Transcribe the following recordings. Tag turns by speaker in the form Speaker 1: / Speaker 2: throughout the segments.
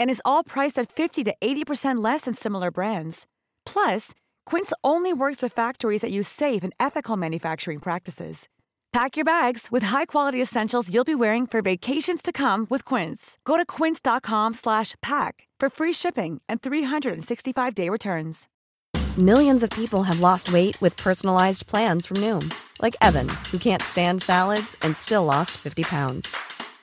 Speaker 1: And is all priced at 50 to 80% less than similar brands. Plus, Quince only works with factories that use safe and ethical manufacturing practices. Pack your bags with high-quality essentials you'll be wearing for vacations to come with Quince. Go to quince.com/pack for free shipping and 365-day returns.
Speaker 2: Millions of people have lost weight with personalized plans from Noom, like Evan, who can't stand salads and still lost 50 pounds.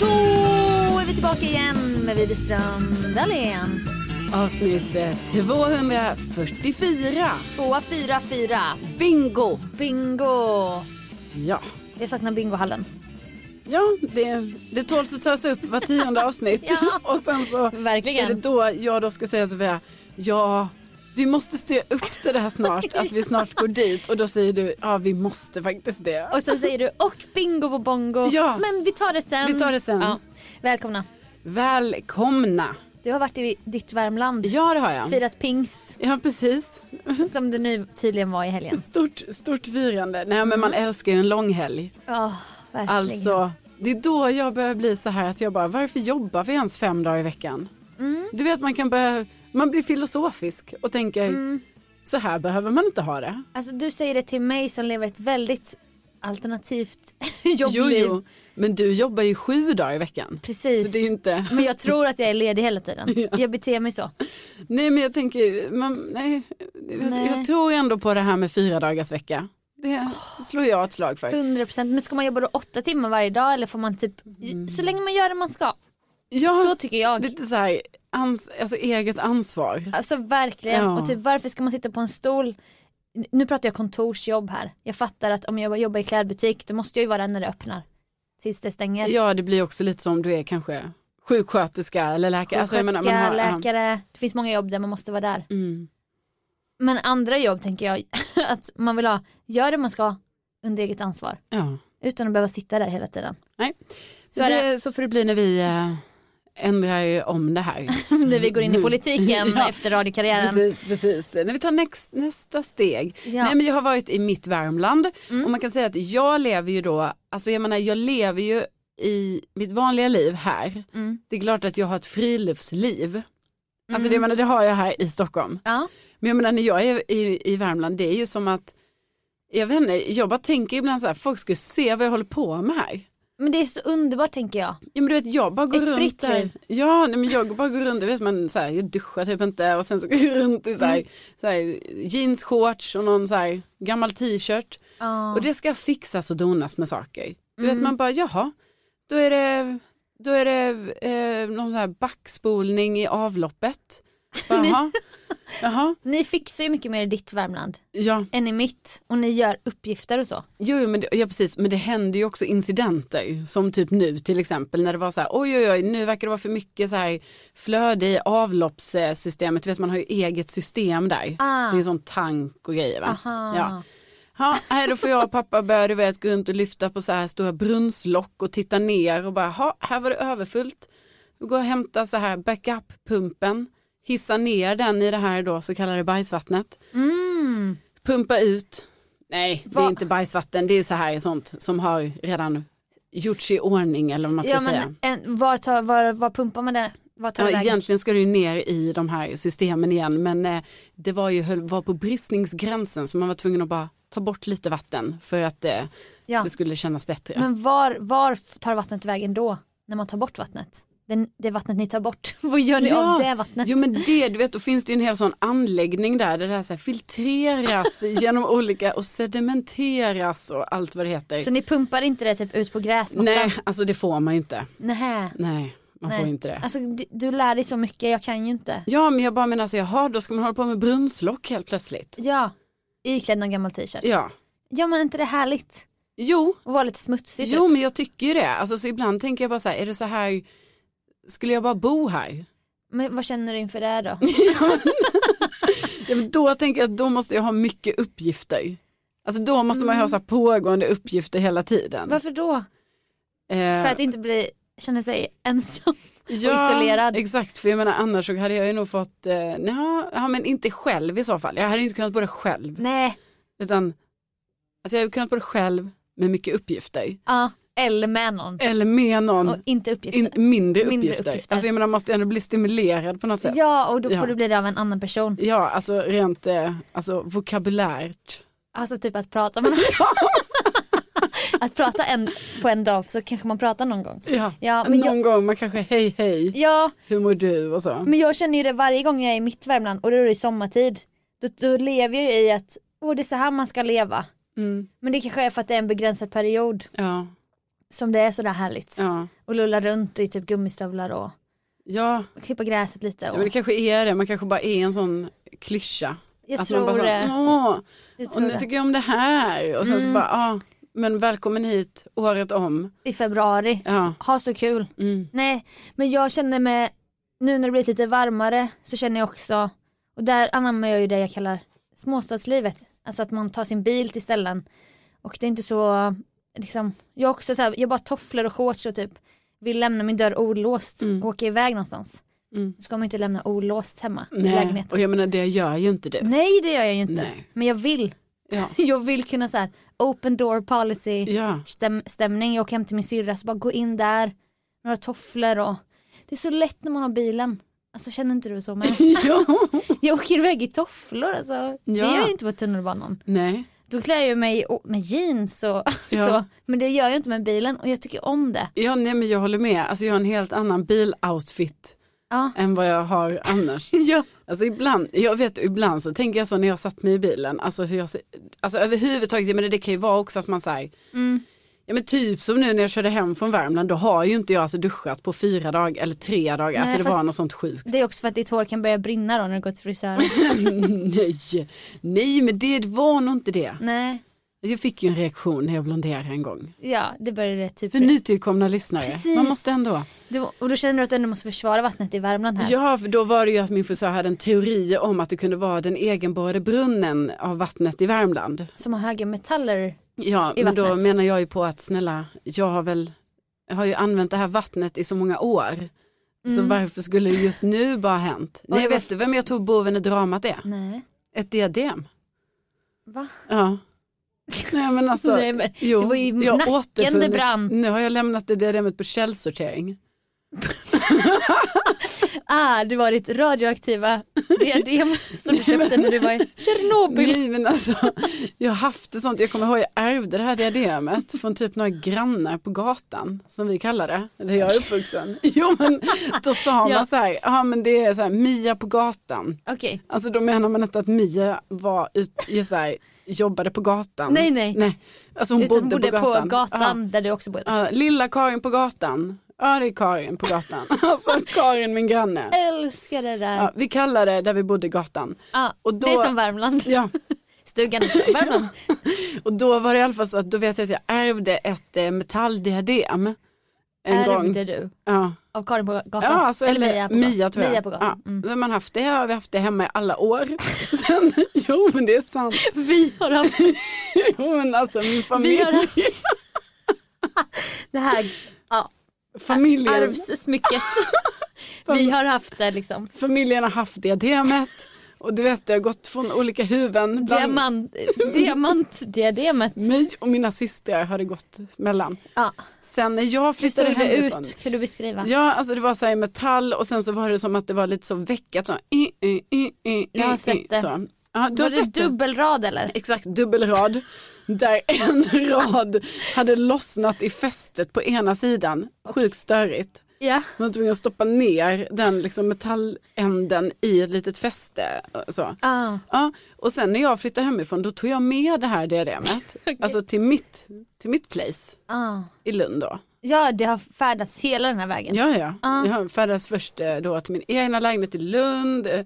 Speaker 3: Då är vi tillbaka igen med Widerström Dahlén.
Speaker 4: Avsnitt eh, 244.
Speaker 3: Tvåa, fyra, fyra.
Speaker 4: Bingo!
Speaker 3: Bingo!
Speaker 4: Ja,
Speaker 3: Jag saknar bingohallen.
Speaker 4: ja det, det tåls att tas upp var tionde avsnitt. Och sen så
Speaker 3: Verkligen.
Speaker 4: är det då jag då ska säga Sofia, ja vi måste styra upp till det här snart, att vi snart går dit. Och då säger du, ja vi måste faktiskt det.
Speaker 3: Och sen säger du och bingo på bongo.
Speaker 4: Ja.
Speaker 3: Men vi tar det sen.
Speaker 4: Vi tar det sen.
Speaker 3: Ja. Välkomna.
Speaker 4: Välkomna!
Speaker 3: Du har varit i ditt Värmland.
Speaker 4: Ja det har jag.
Speaker 3: Firat pingst
Speaker 4: Ja precis.
Speaker 3: som det nu tydligen var i helgen.
Speaker 4: Stort, stort firande. Nej men man
Speaker 3: Mm.
Speaker 4: älskar ju en lång helg.
Speaker 3: Ja, verkligen.
Speaker 4: Alltså, det är då jag börjar bli så här att jag bara, varför jobbar vi ens fem dagar i veckan?
Speaker 3: Mm.
Speaker 4: Du vet man kan börja, man blir filosofisk och tänker,
Speaker 3: Mm.
Speaker 4: så här behöver man inte ha det.
Speaker 3: Alltså, du säger det till mig som lever ett väldigt alternativt jobbliv.
Speaker 4: men du jobbar ju sju dagar i veckan.
Speaker 3: Precis.
Speaker 4: Så det är ju inte,
Speaker 3: Men jag tror att jag är ledig hela tiden. Jag beter mig så.
Speaker 4: nej men jag tänker, man, nej, jag-
Speaker 3: Nej.
Speaker 4: jag tror ändå på det här med fyra dagars vecka. Det slår jag ett slag för.
Speaker 3: 100 procent. Men ska man jobba då åtta timmar varje dag eller får man typ, så länge man gör det man ska.
Speaker 4: Mm. Ja,
Speaker 3: Så tycker jag.
Speaker 4: lite så här, ans, alltså eget ansvar.
Speaker 3: Alltså verkligen.
Speaker 4: Ja.
Speaker 3: Och typ varför ska man sitta på en stol? N- Nu pratar jag kontorsjobb här. Jag fattar att om jag jobbar i klädbutik då måste jag ju vara där när det öppnar. Tills det stänger.
Speaker 4: Ja, det blir också lite som du är kanske sjuksköterska eller läkare. Alltså, jag menar, man har- ja.
Speaker 3: läkare. Det finns många jobb där man måste vara där.
Speaker 4: Mm.
Speaker 3: Men andra jobb tänker jag att man vill ha, gör det man ska under eget ansvar.
Speaker 4: Ja.
Speaker 3: Utan att behöva sitta där hela tiden.
Speaker 4: Nej.
Speaker 3: Så
Speaker 4: Så,
Speaker 3: är
Speaker 4: det, så får det bli när vi eh, ändrar ju om det här.
Speaker 3: När vi går in i politiken
Speaker 4: Ja.
Speaker 3: efter radiokarriären.
Speaker 4: precis, precis. När vi tar näst, nästa steg.
Speaker 3: Ja.
Speaker 4: Nej, men jag har varit i mitt Värmland och man kan säga att jag lever ju då, alltså jag menar jag lever ju i mitt vanliga liv här.
Speaker 3: Mm.
Speaker 4: Det är klart att jag har ett friluftsliv. Alltså det, jag menar, det har jag här i Stockholm.
Speaker 3: Ja.
Speaker 4: Men jag menar när jag är i, i Värmland, det är ju som att, jag vet inte, jag bara tänker ibland så här, folk skulle se vad jag håller på med här.
Speaker 3: Men det är så underbart tänker jag.
Speaker 4: Ja men du vet jag bara går
Speaker 3: Ett
Speaker 4: runt
Speaker 3: fritt
Speaker 4: där.
Speaker 3: liv.
Speaker 4: Ja nej, men jag bara går runt, du vet man så här, jag duschar typ inte och sen så går jag runt i så här,
Speaker 3: Mm.
Speaker 4: så här, jeans, shorts och någon så här gammal t-shirt.
Speaker 3: Ja. Mm.
Speaker 4: Och det ska fixas och donas med saker. Du vet man bara jaha, då är det, då är det eh, någon så här backspolning i avloppet. Bara, Jaha, jaha,
Speaker 3: Ni fixar ju mycket mer i ditt Värmland
Speaker 4: ja.
Speaker 3: än i mitt och ni gör uppgifter och så.
Speaker 4: Jo, jo men det, ja, precis, men det händer ju också incidenter som typ nu till exempel när det var så här oj oj oj nu verkar det vara för mycket så här flöde i avloppssystemet, du vet man har ju eget system där.
Speaker 3: Ah.
Speaker 4: Det är en sån tank och grejer va.
Speaker 3: Aha.
Speaker 4: Ja. Ja, här då får jag och pappa börja du vet, gå runt och lyfta på så här stora brunnslock och titta ner och bara, ha, här var det överfullt. Vi går och hämtar så här backup-pumpen, hissa ner den i det här då så kallade bajsvattnet,
Speaker 3: Mm.
Speaker 4: pumpa ut. Nej, det är
Speaker 3: Va-
Speaker 4: inte bajsvatten, det är så här sånt som har redan gjorts i ordning eller vad man ska
Speaker 3: Ja,
Speaker 4: säga.
Speaker 3: men, en, var, tar, var, var pumpar man den? Var tar
Speaker 4: Ja,
Speaker 3: den vägen?
Speaker 4: egentligen ska du ju ner i de här systemen igen men eh, det var ju höll- var på bristningsgränsen så man var tvungen att bara ta bort lite vatten för att eh,
Speaker 3: ja.
Speaker 4: det skulle kännas bättre.
Speaker 3: Men var, var tar vattnet vägen då? När man tar bort vattnet? Den, det vattnet ni tar bort, vad gör ni
Speaker 4: Ja,
Speaker 3: av det vattnet?
Speaker 4: Jo men det, du vet då finns det ju en hel sån anläggning där, där det här, så här filtreras genom olika och sedimenteras och allt vad det heter.
Speaker 3: Så ni pumpar inte det typ ut på gräsmattan?
Speaker 4: Nej, alltså det får man ju inte.
Speaker 3: Nähä.
Speaker 4: Nej, man får
Speaker 3: Nej.
Speaker 4: inte det.
Speaker 3: Alltså du, du lär dig så mycket, jag kan ju inte.
Speaker 4: Ja men jag bara menar så jaha då ska man hålla på med brunnslock helt plötsligt.
Speaker 3: Ja, iklädd någon gammal t-shirt.
Speaker 4: Ja.
Speaker 3: ja men är inte det härligt?
Speaker 4: Jo,
Speaker 3: Att vara lite smutsig typ.
Speaker 4: jo men jag tycker ju det. Alltså så ibland tänker jag bara så här, är det så här, skulle jag bara bo här?
Speaker 3: Men vad känner du inför det då?
Speaker 4: Ja, men då tänker jag att då måste jag ha mycket uppgifter. Alltså då måste man ju
Speaker 3: Mm.
Speaker 4: ha så här pågående uppgifter hela tiden.
Speaker 3: Varför då?
Speaker 4: Eh,
Speaker 3: För att inte bli, känna sig ensam.
Speaker 4: ja,
Speaker 3: isolerad.
Speaker 4: Exakt, för jag menar annars så hade jag ju nog fått, eh, nja, ja men inte själv i så fall. Jag hade inte kunnat på det själv.
Speaker 3: Nej,
Speaker 4: Utan, alltså jag hade kunnat på det själv med mycket uppgifter.
Speaker 3: ja. Eller med någon.
Speaker 4: Eller med någon,
Speaker 3: Och inte uppgifter.
Speaker 4: in, mindre,
Speaker 3: Mindre
Speaker 4: uppgifter.
Speaker 3: uppgifter.
Speaker 4: Alltså jag menar, måste jag ändå bli stimulerad på något sätt.
Speaker 3: Ja, och då får
Speaker 4: Ja.
Speaker 3: du bli det av en annan person.
Speaker 4: Ja, alltså rent eh, alltså, vokabulärt.
Speaker 3: Alltså typ att prata med någon. att prata en, på en dag så kanske man pratar någon gång.
Speaker 4: Ja,
Speaker 3: Ja, men
Speaker 4: någon
Speaker 3: jag-
Speaker 4: gång man kanske hej hej,
Speaker 3: Ja,
Speaker 4: hur mår du och så.
Speaker 3: men jag känner ju det varje gång jag är i mitt Värmland och då är det sommartid. Då, då lever jag ju i att åh det är så här man ska leva.
Speaker 4: Mm,
Speaker 3: Men det kanske är för att det är en begränsad period
Speaker 4: ja,
Speaker 3: som det är sådär härligt.
Speaker 4: ja.
Speaker 3: Och lulla runt i typ gummistövlar och,
Speaker 4: Ja,
Speaker 3: och klippa gräset lite.
Speaker 4: ja,
Speaker 3: Och,
Speaker 4: men det kanske är det, man kanske bara är en sån klyscha.
Speaker 3: jag,
Speaker 4: att
Speaker 3: tror
Speaker 4: man bara
Speaker 3: det,
Speaker 4: Så, Åh,
Speaker 3: jag
Speaker 4: och
Speaker 3: tror
Speaker 4: nu
Speaker 3: det.
Speaker 4: tycker jag om det här. Och sen så
Speaker 3: Mm.
Speaker 4: bara, ja, men välkommen hit året om.
Speaker 3: I februari.
Speaker 4: Ja,
Speaker 3: Ha så kul.
Speaker 4: mm,
Speaker 3: Nej, men jag känner mig, nu när det blivit lite varmare så känner jag också, och där anammar jag ju det jag kallar småstadslivet. Alltså att man tar sin bil till ställen och det är inte så, liksom, jag har också så här, jag har bara tofflor och shorts och typ vill lämna min dörr olåst
Speaker 4: Mm.
Speaker 3: och åka iväg någonstans.
Speaker 4: Mm.
Speaker 3: Då ska man ju inte lämna olåst hemma i
Speaker 4: nej.
Speaker 3: lägenheten. Mm.
Speaker 4: Och jag menar, det gör ju inte du.
Speaker 3: Nej det gör jag ju inte,
Speaker 4: Nej.
Speaker 3: men jag vill.
Speaker 4: Ja,
Speaker 3: Jag vill kunna så här open door policy
Speaker 4: ja,
Speaker 3: stäm- stämning. Jag åker hem till min syrra så bara gå in där, några tofflor och det är så lätt när man har bilen. Alltså känner inte du så men
Speaker 4: ja.
Speaker 3: jag åker iväg i tofflor alltså. Det
Speaker 4: Ja.
Speaker 3: gör jag inte på tunnelbanan.
Speaker 4: nej,
Speaker 3: Då klär jag mig i- med jeans och
Speaker 4: Ja.
Speaker 3: så men det gör jag inte med bilen och jag tycker om det.
Speaker 4: ja, nej, men jag håller med. Alltså jag har en helt annan biloutfit
Speaker 3: Ja.
Speaker 4: än vad jag har annars.
Speaker 3: Ja.
Speaker 4: Alltså ibland, jag vet ibland så tänker jag så när jag satt mig i bilen, alltså hur jag, ser- alltså överhuvudtaget, men det kan ju vara också att man säger
Speaker 3: Mm.
Speaker 4: Ja men typ som nu när jag körde hem från Värmland, då har ju inte jag alltså duschat på fyra dagar eller tre dagar, alltså
Speaker 3: Nej,
Speaker 4: det var
Speaker 3: fast-
Speaker 4: något sånt sjukt.
Speaker 3: Det är också för att ditt hår kan börja brinna då när du går till frisören.
Speaker 4: nej, nej men det var nog inte det.
Speaker 3: Nej,
Speaker 4: Jag fick ju en reaktion när jag blonderade en gång.
Speaker 3: ja det började typ.
Speaker 4: För nytillkomna lyssnare,
Speaker 3: Precis.
Speaker 4: man måste ändå.
Speaker 3: Du, och då känner du att du ändå måste försvara vattnet i Värmland här.
Speaker 4: Ja, för då var det ju att min frisör hade en teori om att det kunde vara den egenborrade brunnen av vattnet i Värmland.
Speaker 3: Som har höga metaller.
Speaker 4: Ja,
Speaker 3: I
Speaker 4: men då
Speaker 3: vattnet.
Speaker 4: menar jag ju på att snälla, jag har väl, jag har ju använt det här vattnet i så många år. Så varför skulle det just nu bara ha hänt?
Speaker 3: Och
Speaker 4: Nej,
Speaker 3: det var-
Speaker 4: vet du vem Mm. jag tror boven i dramat är?
Speaker 3: Nej,
Speaker 4: Ett diadem.
Speaker 3: va?
Speaker 4: Ja. Nej men alltså.
Speaker 3: Nej, men
Speaker 4: jo,
Speaker 3: det var ju
Speaker 4: jag har
Speaker 3: nacken
Speaker 4: återfunnit-
Speaker 3: det brann.
Speaker 4: Nu har jag lämnat det diademet på källsortering.
Speaker 3: Ah, det var ditt radioaktiva diadem som du köpte när du var i Tjernobyl.
Speaker 4: Nej men alltså, jag har haft det sånt, jag kommer ihåg jag ärvde det här diademet från typ några grannar på gatan som vi kallar det, där jag är uppvuxen. Jo men då sa
Speaker 3: Ja.
Speaker 4: man så här, ja men det är så här Mia på gatan.
Speaker 3: Okej,
Speaker 4: Alltså då menar man inte att Mia var ut, i så här, jobbade på gatan.
Speaker 3: Nej, nej.
Speaker 4: nej. Alltså hon
Speaker 3: utan
Speaker 4: bodde,
Speaker 3: hon bodde
Speaker 4: på gatan. Ah.
Speaker 3: där du också bodde.
Speaker 4: Ja, ja, lilla Karin på gatan, ja det är Karin på gatan. Alltså Karin min granne.
Speaker 3: Älskar det där.
Speaker 4: Ja, vi kallar det där vi bodde gatan.
Speaker 3: Ah,
Speaker 4: Ah. och då-
Speaker 3: Det är som Värmland.
Speaker 4: Ja.
Speaker 3: Stugan är som Värmland.
Speaker 4: Och då var det i alla fall så att då vet jag att jag ärvde ett eh, metalldiadem. en gång.
Speaker 3: Ärvde du?
Speaker 4: Ja.
Speaker 3: Av Karin på gatan?
Speaker 4: Ja, alltså, eller
Speaker 3: Mia på gatan?
Speaker 4: Mia tror jag. Ah.
Speaker 3: Mia på gatan.
Speaker 4: Ja.
Speaker 3: Mm.
Speaker 4: Men man har haft det, har vi haft det hemma i alla år. Sen, jo men det är sant.
Speaker 3: Vi har haft,
Speaker 4: Jo men alltså min
Speaker 3: vi
Speaker 4: familj,
Speaker 3: har haft det här ja,
Speaker 4: familjen,
Speaker 3: arvssmycket. vi har haft det liksom.
Speaker 4: familjen har haft diademet och du vet det har gått från olika huvuden. Bland
Speaker 3: Diamant, diamantdiademet.
Speaker 4: mig och mina systrar har det gått mellan.
Speaker 3: Ja.
Speaker 4: Sen när jag
Speaker 3: Hur
Speaker 4: flyttade
Speaker 3: såg det
Speaker 4: hemifrån.
Speaker 3: ut? Kan du beskriva?
Speaker 4: Ja, alltså det var så här i metall och sen så var det som att det var lite så veckat så. i, i, i, i,
Speaker 3: Jag har
Speaker 4: i,
Speaker 3: sett det.
Speaker 4: Så. Ja, du
Speaker 3: var
Speaker 4: har
Speaker 3: det
Speaker 4: sett det.
Speaker 3: dubbelrad eller?
Speaker 4: Exakt, dubbelrad. Där en rad hade lossnat i fästet på ena sidan. Sjukt störigt.
Speaker 3: Ja.
Speaker 4: Man var tvungen att stoppa ner den liksom metalländen i ett litet fäste. och Så.
Speaker 3: Ah.
Speaker 4: Ja, och sen när jag flyttade hemifrån då tog jag med det här diademet. Alltså till mitt, till mitt place
Speaker 3: Ah.
Speaker 4: i Lund då.
Speaker 3: Ja, det har färdats hela den här vägen.
Speaker 4: Ja, ja.
Speaker 3: Ja.
Speaker 4: Jag färdades först eh, då till min egna lägenhet i Lund. eh,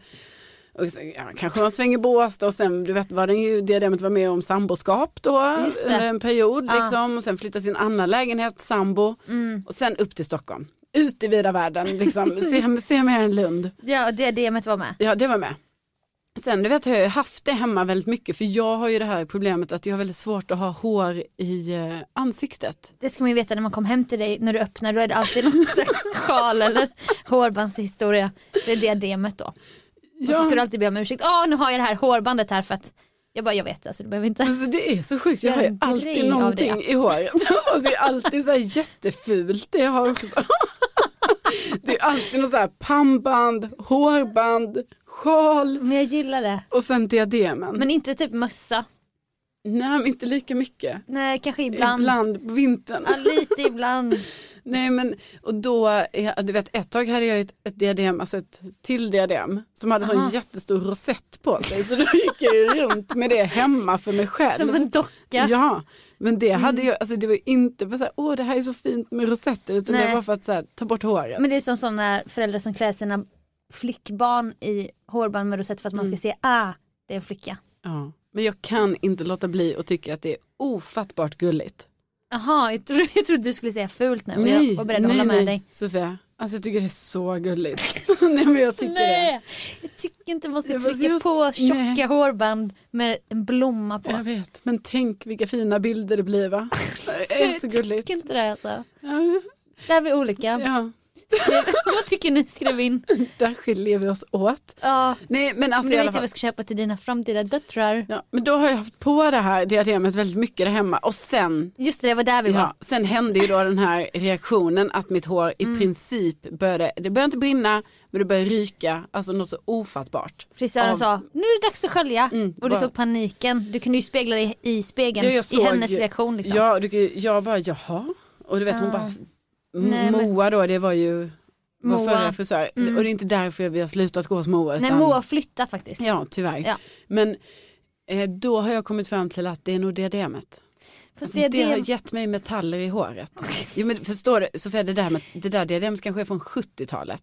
Speaker 4: Och så, ja, kanske man svänger i Båstad och sen du vet, var den ju, diademet var med om samboskap då.
Speaker 3: Just det.
Speaker 4: Under en period
Speaker 3: Ja. Mm.
Speaker 4: liksom. Och sen flyttade till en annan lägenhet, sambo. Och sen upp till Stockholm. Ut i vida världen liksom. se, se mer än Lund.
Speaker 3: Ja, och diademet var med.
Speaker 4: Ja, det var med. Sen du vet har jag haft det hemma väldigt mycket för jag har ju det här problemet att jag har väldigt svårt att ha hår i eh, ansiktet.
Speaker 3: Det ska man ju veta när man kom hem till dig, när du öppnar då är det alltid någon slags sjal eller hårbandshistoria. Det är diademet då. Och så ska du alltid be om ursäkt. Åh, nu har jag det här hårbandet här för att jag bara, jag vet alltså du behöver inte.
Speaker 4: Alltså det är så sjukt, jag
Speaker 3: Gör
Speaker 4: har ju
Speaker 3: en grej
Speaker 4: alltid
Speaker 3: av
Speaker 4: någonting i håret. Alltså det är alltid så här jättefult det jag har också. Det är alltid något så här pannband, hårband, sjal
Speaker 3: Men jag gillar det.
Speaker 4: och sen diademen.
Speaker 3: Men inte typ mössa.
Speaker 4: Nej men inte lika mycket.
Speaker 3: Nej, kanske ibland.
Speaker 4: Ibland, på vintern.
Speaker 3: Ja, lite ibland.
Speaker 4: Nej men och då, är- du vet ett tag hade jag ett, ett diadem, alltså ett till diadem som hade sån jättestor rosett på sig så då gick jag ju runt med det hemma för mig själv.
Speaker 3: Som en docka.
Speaker 4: Ja, men det
Speaker 3: Mm.
Speaker 4: hade jag, alltså det var ju inte för att åh det här är så fint med rosetter utan
Speaker 3: Nej.
Speaker 4: det var för att så här, ta bort håret.
Speaker 3: Men det är som sådana föräldrar som klär sina flickbarn i hårband med rosett för att man ska se, ah, det är en flicka.
Speaker 4: ja. men jag kan inte låta bli och tycka att det är ofattbart gulligt.
Speaker 3: Jaha, jag, tro, jag trodde du skulle säga fult nu och jag var beredd att
Speaker 4: nej,
Speaker 3: hålla med
Speaker 4: nej,
Speaker 3: dig.
Speaker 4: Sofia, alltså jag tycker det är så gulligt. nej men jag tycker det.
Speaker 3: Nej, jag tycker inte man ska
Speaker 4: Jag bara,
Speaker 3: trycka
Speaker 4: jag-
Speaker 3: på tjocka
Speaker 4: nej.
Speaker 3: hårband med en blomma på.
Speaker 4: Jag vet, men tänk vilka fina bilder det blir va? Det är så
Speaker 3: Jag
Speaker 4: gulligt.
Speaker 3: tycker inte det alltså.
Speaker 4: Ja,
Speaker 3: Där blir olika.
Speaker 4: ja,
Speaker 3: Skriv- vad tycker ni? Skriv in.
Speaker 4: där skiljer vi oss åt.
Speaker 3: Ja,
Speaker 4: Nej men
Speaker 3: men
Speaker 4: alltså
Speaker 3: du
Speaker 4: i
Speaker 3: vet
Speaker 4: alla
Speaker 3: jag vad
Speaker 4: fall.
Speaker 3: jag ska köpa till dina framtida döttrar.
Speaker 4: Ja, men då har jag haft på det här diademet väldigt mycket där hemma och sen
Speaker 3: Just det, det var där vi var.
Speaker 4: Ja, sen hände ju då den här reaktionen att mitt hår
Speaker 3: Mm.
Speaker 4: i princip började, det började inte brinna men det började ryka, alltså något så ofattbart.
Speaker 3: Frisören
Speaker 4: Av- Mm,
Speaker 3: sa, nu är det dags att skölja. och du
Speaker 4: bara-
Speaker 3: såg paniken. Du kunde ju spegla dig i spegeln,
Speaker 4: Ja, jag
Speaker 3: i
Speaker 4: såg-
Speaker 3: hennes reaktion liksom.
Speaker 4: Ja, och det, jag bara jaha, och du vet hon bara, M-
Speaker 3: Nej, men-
Speaker 4: Moa då det var ju vår
Speaker 3: Moa. Mm.
Speaker 4: förra frisör och det är inte därför vi har slutat gå hos Moa.
Speaker 3: Nej,
Speaker 4: Utan,
Speaker 3: Moa har flyttat faktiskt.
Speaker 4: Ja, tyvärr.
Speaker 3: Ja.
Speaker 4: Men eh, då har jag kommit fram till att det är nog diademet.
Speaker 3: Fast
Speaker 4: Det,
Speaker 3: diadem-
Speaker 4: har gett mig metaller i håret. Jo men förstår du, Sofia det där, med, det där diademet kanske är från 70-talet.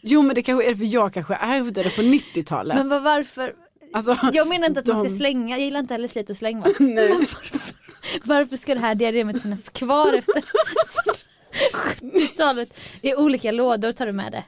Speaker 4: Jo men det kanske är för jag kanske ärvde det på 90-talet.
Speaker 3: Men vad- varför?
Speaker 4: alltså,
Speaker 3: Jag menar inte att man
Speaker 4: de-
Speaker 3: ska slänga, jag gillar inte heller slit och släng va? Men varför, varför ska det här diademet finnas kvar efter 70-talet? I olika lådor tar du med det.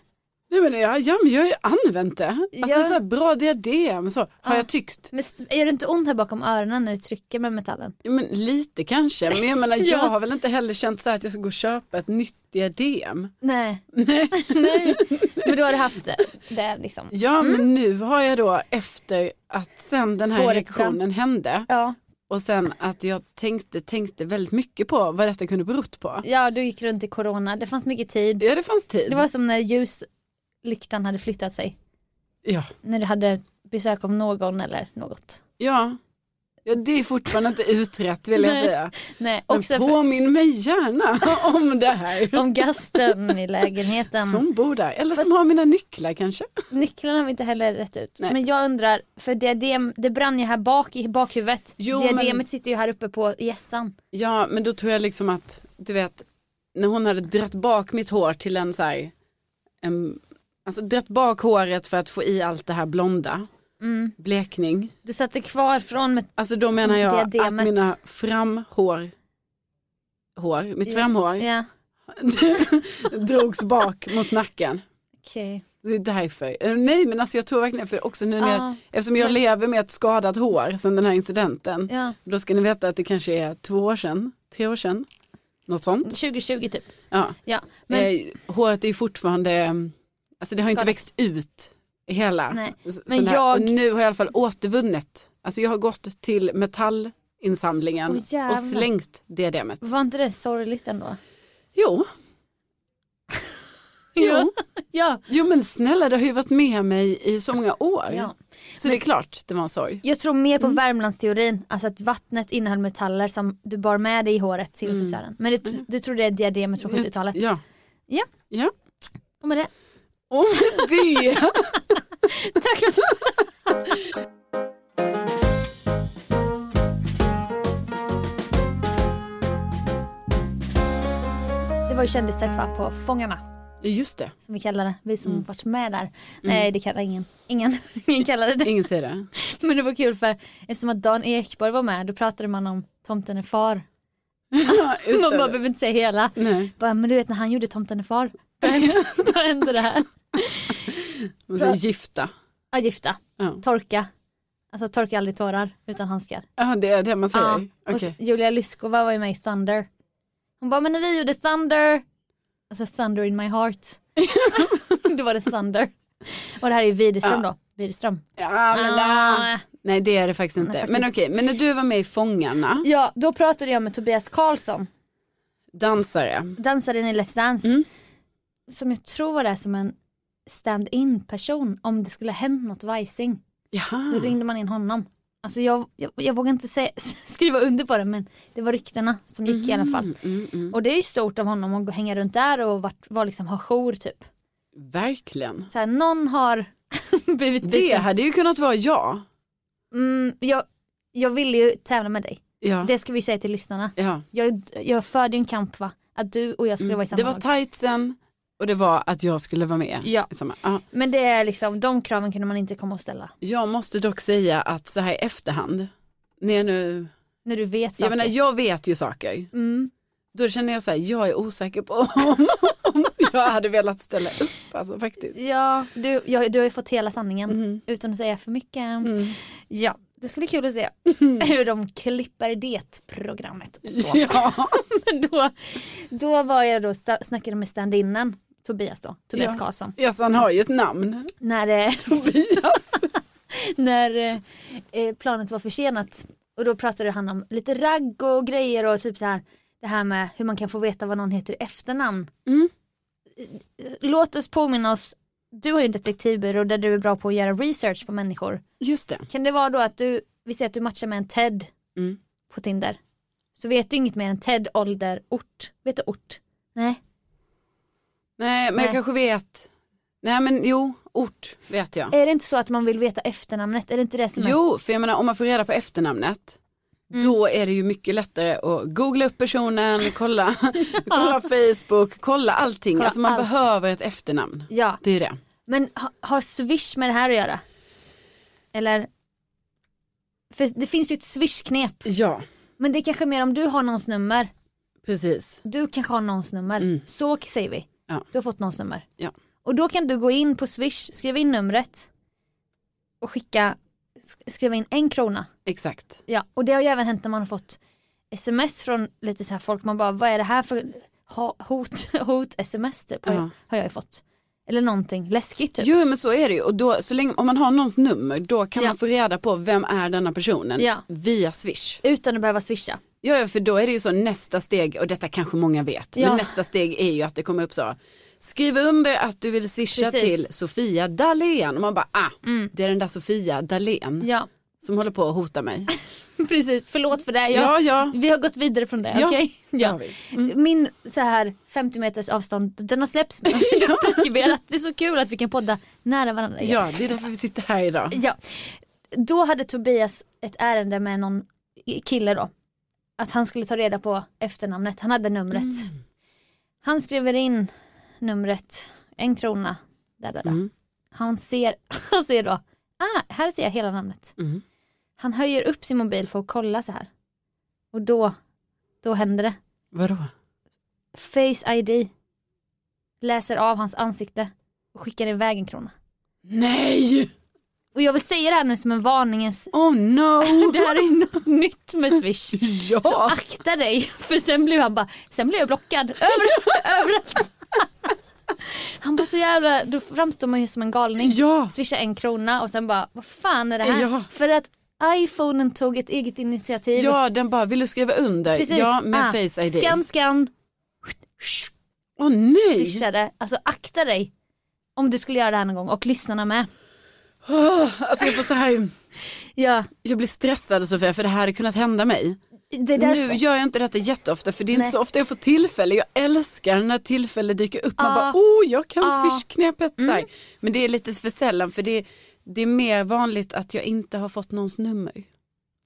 Speaker 4: Nej men ja, ja men jag har ju använt det. Alltså
Speaker 3: Ja.
Speaker 4: så här, bra diadem så, har
Speaker 3: Ja.
Speaker 4: jag tyckt.
Speaker 3: Men s- gör det inte ont här bakom öronen när du trycker med metallen?
Speaker 4: Jo, men lite kanske, men jag menar
Speaker 3: Ja.
Speaker 4: jag har väl inte heller känt så här att jag ska gå och köpa ett nytt diadem.
Speaker 3: Nej. Nej. Men då har du haft det, det liksom.
Speaker 4: Ja men nu har jag då efter att sen den här
Speaker 3: Håret
Speaker 4: reaktionen hände
Speaker 3: Ja,
Speaker 4: och sen att jag tänkte, tänkte väldigt mycket på vad detta kunde berott på.
Speaker 3: ja du gick runt i corona, det fanns mycket tid.
Speaker 4: Ja det fanns tid.
Speaker 3: Det var som när ljuslyktan hade flyttat sig.
Speaker 4: Ja.
Speaker 3: När du hade besök av någon eller något.
Speaker 4: Ja. ja, det är fortfarande inte utrett vill jag
Speaker 3: Nej.
Speaker 4: säga.
Speaker 3: Nej,
Speaker 4: Men
Speaker 3: också för,
Speaker 4: påminn mig gärna om det här.
Speaker 3: om gasten i lägenheten.
Speaker 4: Som bor där, eller
Speaker 3: Fast-
Speaker 4: som har mina nycklar kanske.
Speaker 3: Nycklarna har vi inte heller rätt ut.
Speaker 4: Nej.
Speaker 3: Men jag undrar, för diadem, det brann ju här bak i bakhuvudet.
Speaker 4: Jo,
Speaker 3: Diademet
Speaker 4: men-
Speaker 3: sitter ju här uppe på hjässan.
Speaker 4: Ja, men då tror jag liksom att, du vet, när hon hade dratt bak mitt hår till en så här, en, alltså dratt bak håret för att få i allt det här blonda, blekning.
Speaker 3: Mm. Du satte kvar från med...
Speaker 4: Alltså då menar jag
Speaker 3: Diademet.
Speaker 4: att mina framhår, hår, mitt framhår
Speaker 3: Ja.
Speaker 4: drogs bak mot nacken.
Speaker 3: Okej.
Speaker 4: Det är därför. Eh, Nej men alltså jag tror verkligen, för också nu när jag,
Speaker 3: Ja.
Speaker 4: eftersom jag lever med ett skadat hår sedan den här incidenten,
Speaker 3: Ja.
Speaker 4: då ska ni veta att det kanske är två år sedan, tre år sedan, något sånt.
Speaker 3: 2020 typ.
Speaker 4: Ja.
Speaker 3: Ja. Men
Speaker 4: Eh, håret är ju fortfarande, eh, alltså det har ju inte
Speaker 3: Skadat.
Speaker 4: växt ut hela.
Speaker 3: Nej,
Speaker 4: s-
Speaker 3: men
Speaker 4: sån här.
Speaker 3: jag-
Speaker 4: Och nu har jag i alla fall återvunnit, alltså jag har gått till metallinsamlingen
Speaker 3: Åh, jävlar.
Speaker 4: och slängt diademet.
Speaker 3: var inte det sorgligt ändå?
Speaker 4: Jo, jo.
Speaker 3: ja.
Speaker 4: jo men snälla det har ju varit med mig i så många år.
Speaker 3: ja.
Speaker 4: Så det är klart det var en sorg.
Speaker 3: Jag tror mer
Speaker 4: Mm.
Speaker 3: på Värmlandsteorin, alltså att vattnet innehöll metaller som du bar med dig i håret till
Speaker 4: Mm.
Speaker 3: frisören. Men du, du tror det är diademet från 70-talet.
Speaker 4: Ja.
Speaker 3: Ja.
Speaker 4: ja.
Speaker 3: Och med det.
Speaker 4: Och med det.
Speaker 3: Tack Det var ju kändistätt va, på Fångarna
Speaker 4: Ja, Just det,
Speaker 3: som vi kallar det, vi
Speaker 4: Mm.
Speaker 3: som varit med där. Nej det kallar ingen, ingen, ingen kallar det det.
Speaker 4: ingen säger det.
Speaker 3: Men det var kul för eftersom att Dan Ekborg var med då pratade man om Tomten är far.
Speaker 4: Ja, just
Speaker 3: Man bara
Speaker 4: det.
Speaker 3: behöver inte säga hela.
Speaker 4: Nej,
Speaker 3: Bara, men du vet när han gjorde Tomten är far, då hände, då hände det här.
Speaker 4: man säger gifta.
Speaker 3: Ja gifta,
Speaker 4: Ja.
Speaker 3: torka. Alltså torka aldrig tårar utan handskar.
Speaker 4: Ja, det är det man säger.
Speaker 3: Ja,
Speaker 4: Okej.
Speaker 3: och så- Julia Lyskova var ju med i Thunder. Hon bara, men när vi gjorde Thunder, alltså Thunder in my heart. då var det Thunder. Och det här är ju Widerström
Speaker 4: Ja.
Speaker 3: då, Widerström.
Speaker 4: Ja, men
Speaker 3: Ah.
Speaker 4: da. Nej, det är det faktiskt
Speaker 3: är
Speaker 4: inte.
Speaker 3: faktiskt
Speaker 4: Men okej, men när du var med i Fångarna,
Speaker 3: Ja, då pratade jag med Tobias Karlsson,
Speaker 4: dansare.
Speaker 3: dansaren i Let's Dance.
Speaker 4: Mm.
Speaker 3: Som jag tror var där som en stand-in person om det skulle ha hänt något vajsing. Då
Speaker 4: Jaha.
Speaker 3: ringde man in honom. Alltså jag, jag, jag vågar inte sä- skriva under på det men det var ryktena som gick i alla fall.
Speaker 4: Mm, mm.
Speaker 3: Och det är ju stort av honom att gå- hänga runt där och vart, var liksom, ha jour typ.
Speaker 4: Verkligen.
Speaker 3: Så här, någon har blivit
Speaker 4: Det
Speaker 3: biten.
Speaker 4: hade ju kunnat vara jag.
Speaker 3: Mm, jag, jag ville ju tävla med dig.
Speaker 4: Ja.
Speaker 3: Det ska vi säga till lyssnarna.
Speaker 4: ja.
Speaker 3: Jag, jag förde ju en kamp va? Att du och jag skulle vara i samma
Speaker 4: Mm. Det var
Speaker 3: lag.
Speaker 4: tightsen och det var att jag skulle vara med.
Speaker 3: Ja.
Speaker 4: i Samma. Ja.
Speaker 3: Men det är liksom, de kraven kunde man inte komma och ställa.
Speaker 4: Jag måste dock säga att så här i efterhand, när jag nu,
Speaker 3: När du vet saker.
Speaker 4: jag menar jag vet ju saker.
Speaker 3: mm.
Speaker 4: Då känner jag så här, jag är osäker på om, om jag hade velat ställa upp alltså faktiskt.
Speaker 3: Ja, du, jag, du har ju fått hela sanningen
Speaker 4: Mm.
Speaker 3: utan att säga för mycket.
Speaker 4: Mm.
Speaker 3: Ja, det ska bli kul att se hur de klipper det programmet. och Så.
Speaker 4: Ja.
Speaker 3: då, då var jag då sta- snackade med stand-innen Tobias då, Tobias
Speaker 4: Ja.
Speaker 3: Karlsson.
Speaker 4: ja, så han har ju ett namn.
Speaker 3: När, eh,
Speaker 4: Tobias.
Speaker 3: när eh, eh, planet var försenat och då pratade han om lite ragg och grejer och typ så här det här med hur man kan få veta vad någon heter i efternamn.
Speaker 4: Mm.
Speaker 3: Låt oss påminna oss, du har ju en detektivbyrå där du är bra på att göra research på människor.
Speaker 4: Just det.
Speaker 3: Kan det vara då att du, vi säger att du matchar med en Ted
Speaker 4: Mm.
Speaker 3: på Tinder. Så vet du inget mer än Ted, ålder, ort. Vet du ort? Nej.
Speaker 4: Nej, men
Speaker 3: Nej.
Speaker 4: jag kanske vet. Nej, men jo, ort vet jag.
Speaker 3: Är det inte så att man vill veta efternamnet? Är det inte det som är?
Speaker 4: Jo, för jag menar om man får reda på efternamnet
Speaker 3: Mm.
Speaker 4: Då är det ju mycket lättare att googla upp personen, kolla, kolla Facebook, kolla allting.
Speaker 3: Kolla
Speaker 4: alltså man
Speaker 3: allt.
Speaker 4: behöver ett efternamn.
Speaker 3: Ja,
Speaker 4: Det är det.
Speaker 3: men ha, har Swish med det här att göra? Eller? För det finns ju ett Swish-knep.
Speaker 4: Ja,
Speaker 3: Men det är kanske mer om du har någons nummer.
Speaker 4: precis.
Speaker 3: Du kanske har någons nummer. Så säger vi.
Speaker 4: Mm. Ja.
Speaker 3: Du har fått någons nummer.
Speaker 4: Ja.
Speaker 3: Och då kan du gå in på Swish, skriva in numret och skicka, sk- skriva in en krona.
Speaker 4: Exakt.
Speaker 3: Ja, och det har ju även hänt när man har fått sms från lite så här folk, man bara vad är det här för ha- hot, hot sms typ, har, jag,
Speaker 4: Ja.
Speaker 3: har jag ju fått. Eller någonting läskigt typ.
Speaker 4: Jo men så är det ju och då, så länge, om man har någons nummer då kan
Speaker 3: Ja.
Speaker 4: man få reda på vem är denna personen
Speaker 3: Ja.
Speaker 4: via swish.
Speaker 3: Utan att behöva swisha.
Speaker 4: Ja, ja, för då är det ju så nästa steg, och detta kanske många vet,
Speaker 3: Ja.
Speaker 4: men nästa steg är ju att det kommer upp så, skriv under att du vill swisha
Speaker 3: Precis. Mm.
Speaker 4: till Sofia Dalén. Och man bara, ah, det är den där Sofia Dalén
Speaker 3: Ja,
Speaker 4: som håller på att hota mig.
Speaker 3: precis. Förlåt för det. Jag,
Speaker 4: ja, ja,
Speaker 3: Vi har gått vidare från det,
Speaker 4: Ja,
Speaker 3: okej?
Speaker 4: det har vi. Mm.
Speaker 3: Min så här 50 meters avstånd, den har släppts nu. Det har preskriberat. Det är så kul att vi kan podda nära varandra. igen.
Speaker 4: ja, det är därför vi sitter här idag.
Speaker 3: Ja. Då hade Tobias ett ärende med någon kille då. Att han skulle ta reda på efternamnet. Han hade numret.
Speaker 4: Mm.
Speaker 3: Han skriver in numret, en krona. Där, där, där.
Speaker 4: Mm.
Speaker 3: Han, ser, han ser då, ah, här ser jag hela namnet.
Speaker 4: Mm.
Speaker 3: Han höjer upp sin mobil för att kolla så här. Och då, då händer det.
Speaker 4: Vadå?
Speaker 3: Face ID. Läser av hans ansikte och skickar iväg en krona.
Speaker 4: Nej!
Speaker 3: Och jag vill säga det här nu som en varningens...
Speaker 4: Oh no!
Speaker 3: Det här är något nytt med Swish. Så
Speaker 4: ja!
Speaker 3: akta dig för sen blev han bara, sen blev jag blockad Över, överallt. Han var så jävla, då framstår man ju som en galning.
Speaker 4: Ja!
Speaker 3: Swisha en krona och sen bara, vad fan är det här?
Speaker 4: Ja.
Speaker 3: För att iPhonen tog ett eget initiativ.
Speaker 4: Ja, den bara, vill du skriva under?
Speaker 3: Precis.
Speaker 4: Ja, med
Speaker 3: Ah,
Speaker 4: face ID.
Speaker 3: Scan, scan,
Speaker 4: Åh nej!
Speaker 3: swishade. Alltså akta dig. Om du skulle göra det här någon gång och lyssnarna med.
Speaker 4: Åh, alltså jag får så här,
Speaker 3: Ja,
Speaker 4: jag blir stressad Sofia för det här hade kunnat hända mig.
Speaker 3: det är därför.
Speaker 4: Nu gör jag inte detta jätteofta för det är
Speaker 3: Nej.
Speaker 4: inte så ofta jag får tillfälle. Jag älskar när tillfälle dyker upp. Man
Speaker 3: Ja.
Speaker 4: bara, oh jag kan
Speaker 3: Ja.
Speaker 4: swishknepet. så
Speaker 3: Mm.
Speaker 4: här. Men det är lite för sällan för det, det är mer vanligt att jag inte har fått någons nummer.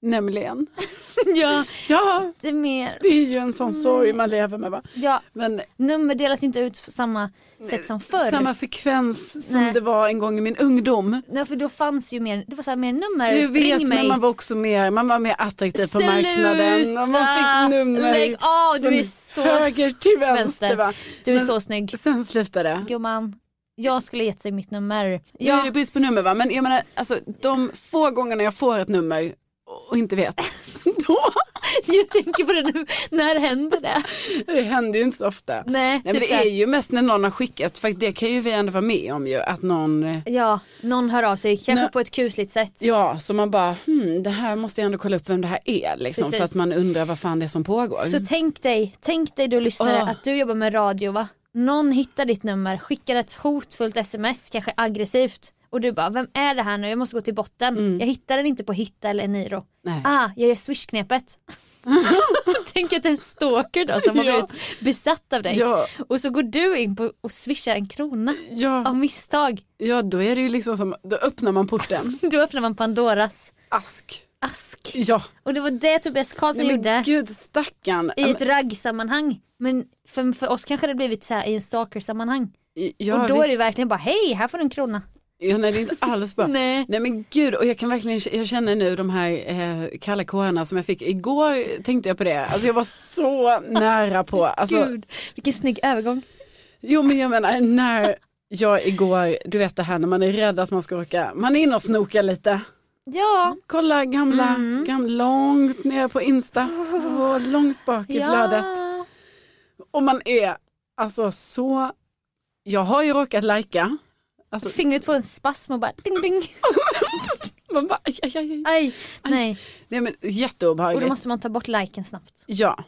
Speaker 4: Nämligen.
Speaker 3: ja,
Speaker 4: Ja,
Speaker 3: det är mer.
Speaker 4: det är ju en sån sorg man lever med va.
Speaker 3: Ja,
Speaker 4: Men
Speaker 3: nummer delas inte ut på samma sätt som förr.
Speaker 4: samma frekvens som
Speaker 3: Nej.
Speaker 4: det var en gång i min ungdom.
Speaker 3: Nej för då fanns ju mer, det var så här, mer nummer,
Speaker 4: Jag vet
Speaker 3: ring
Speaker 4: men
Speaker 3: mig.
Speaker 4: man var också mer, man var mer attraktiv på marknaden. Och man
Speaker 3: Sluta!
Speaker 4: fick nummer
Speaker 3: Lägg av, du
Speaker 4: från
Speaker 3: är så
Speaker 4: höger till vänster.
Speaker 3: vänster.
Speaker 4: Va?
Speaker 3: Du är
Speaker 4: Men-
Speaker 3: så snygg.
Speaker 4: Sen slutade det.
Speaker 3: Gumman, jag skulle gett dig mitt nummer.
Speaker 4: Nu är det
Speaker 3: Ja,
Speaker 4: brist på nummer va? Men jag menar alltså de få gångerna jag får ett nummer och inte vet. Då,
Speaker 3: jag tänker på det nu, när händer det?
Speaker 4: det händer ju inte så ofta. Nej,
Speaker 3: Nej,
Speaker 4: men
Speaker 3: typ
Speaker 4: det
Speaker 3: så här,
Speaker 4: är ju mest när någon har skickat, för det kan ju vi ändå vara med om ju, att någon, eh,
Speaker 3: Ja, någon hör av sig, kanske
Speaker 4: Nej.
Speaker 3: på ett kusligt sätt.
Speaker 4: ja så man bara, hmm, det här måste jag ändå kolla upp vem det här är liksom,
Speaker 3: Precis.
Speaker 4: för att man undrar vad fan det är som pågår.
Speaker 3: Så tänk dig, tänk dig du lyssnare
Speaker 4: Åh.
Speaker 3: att du jobbar med radio va? Någon hittar ditt nummer, skickar ett hotfullt sms, kanske aggressivt. Och du bara, vem är det här nu? Jag måste gå till botten. Jag hittar den inte på hitta eller eniro.
Speaker 4: Mm. Nej.
Speaker 3: Ah, jag gör swishknepet. Tänk att det är en stalker då som har
Speaker 4: Ja.
Speaker 3: blivit besatt av dig.
Speaker 4: Ja.
Speaker 3: Och så går du in på och swishar en krona
Speaker 4: ja,
Speaker 3: av misstag.
Speaker 4: ja, då är det ju liksom som, då öppnar man porten.
Speaker 3: Då öppnar man Pandoras
Speaker 4: Ask.
Speaker 3: ask.
Speaker 4: Ja.
Speaker 3: Och det var det Tobias Karlsson
Speaker 4: Nej, men
Speaker 3: gjorde.
Speaker 4: Gud stackarn. Alltså,
Speaker 3: I ett raggsammanhang. Men för, för oss kanske det blivit så här i en stalker-sammanhang.
Speaker 4: Ja,
Speaker 3: och då är
Speaker 4: visst.
Speaker 3: det verkligen bara hej, här får du en krona.
Speaker 4: Ja, nej det är inte alls bra.
Speaker 3: Nej.
Speaker 4: nej men gud, och jag kan verkligen, jag känner nu de här eh, kalla kårarna som jag fick, igår tänkte jag på det, alltså jag var så nära på, alltså,
Speaker 3: Gud, vilken snygg övergång.
Speaker 4: jo men jag menar när jag igår, du vet det här när man är rädd att man ska åka, man är inne och snokar lite,
Speaker 3: Ja,
Speaker 4: kolla gamla,
Speaker 3: Mm.
Speaker 4: gamla långt ner på Insta, och långt bak i flödet,
Speaker 3: ja.
Speaker 4: och man är alltså så, jag har ju råkat lajka, alltså
Speaker 3: Fingret får en spasm och bara ding ding.
Speaker 4: man bara, aj, aj, aj, aj.
Speaker 3: Aj, nej.
Speaker 4: nej men
Speaker 3: Och då
Speaker 4: jätteobehagligt.
Speaker 3: måste man ta bort liken snabbt.
Speaker 4: Ja,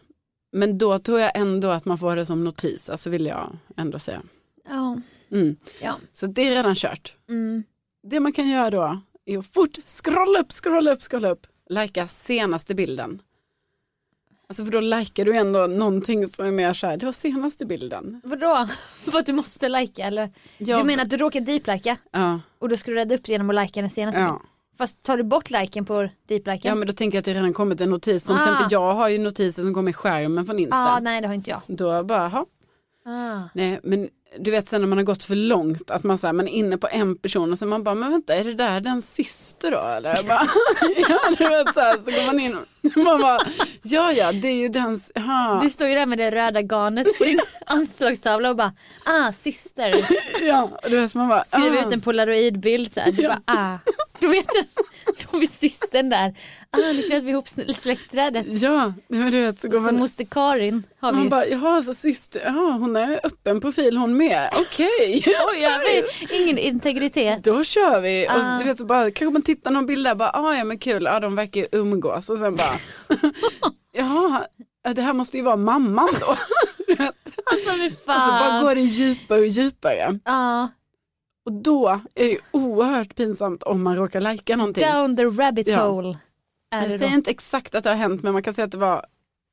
Speaker 4: men då tror jag ändå att man får det som notis, alltså vill jag ändå säga.
Speaker 3: Ja.
Speaker 4: Mm.
Speaker 3: Ja.
Speaker 4: Så det är redan kört.
Speaker 3: Mm.
Speaker 4: Det man kan göra då är att fort scrolla upp, scrolla upp, scrolla upp, lajka senaste bilden. Alltså för då likar du ändå någonting som är mer så här, det var senaste bilden.
Speaker 3: Vadå? För att du måste lajka eller?
Speaker 4: Ja.
Speaker 3: Du menar att du råkar deep-lika
Speaker 4: Ja,
Speaker 3: och då ska du rädda upp det genom att lajka den senaste?
Speaker 4: ja.
Speaker 3: Fast tar du bort liken på deep-liken?
Speaker 4: ja men då tänker jag att det redan kommit en notis, som till
Speaker 3: Ah.
Speaker 4: exempel jag har ju notiser som kommer i skärmen från Insta.
Speaker 3: ah, nej det har inte jag.
Speaker 4: Då bara, jaha,
Speaker 3: Ah.
Speaker 4: Nej, men du vet sen när man har gått för långt, att man, så här, man är inne på en person och sen man bara, men vänta, är det där den syster då eller? Jag Bara, ja, du vet så här, så går man in och man bara, ja ja, det är ju den, ja,
Speaker 3: Du står ju där med det röda garnet på din anslagstavla och bara ah syster.
Speaker 4: ja, du vet så man bara,
Speaker 3: Skriver
Speaker 4: ah,
Speaker 3: ut en polaroidbild såhär. Du bara ah. Då vet du. Då är systern där. Ah nu knöt vi ihop sl- släktträdet.
Speaker 4: ja, nej, men du vet så går
Speaker 3: Och så
Speaker 4: man,
Speaker 3: moster Karin har vi
Speaker 4: man
Speaker 3: ju.
Speaker 4: bara, jaha, så syster, ja, hon är öppen profil hon med, okej.
Speaker 3: Oj, jag har ingen integritet.
Speaker 4: Då kör vi och
Speaker 3: Ah.
Speaker 4: du vet så bara kanske man tittar någon bild där bara ah, ja men kul, ah, de verkar ju umgås och sen bara ja det här måste ju vara mamman då.
Speaker 3: Alltså fy fan.
Speaker 4: Alltså bara går det djupare och djupare.
Speaker 3: Ja,
Speaker 4: Och då är det ju oerhört pinsamt om man råkar lajka någonting.
Speaker 3: down the rabbit
Speaker 4: Ja.
Speaker 3: hole. Alltså, Är det
Speaker 4: Jag säger
Speaker 3: då.
Speaker 4: inte exakt att det har hänt men man kan säga att det var,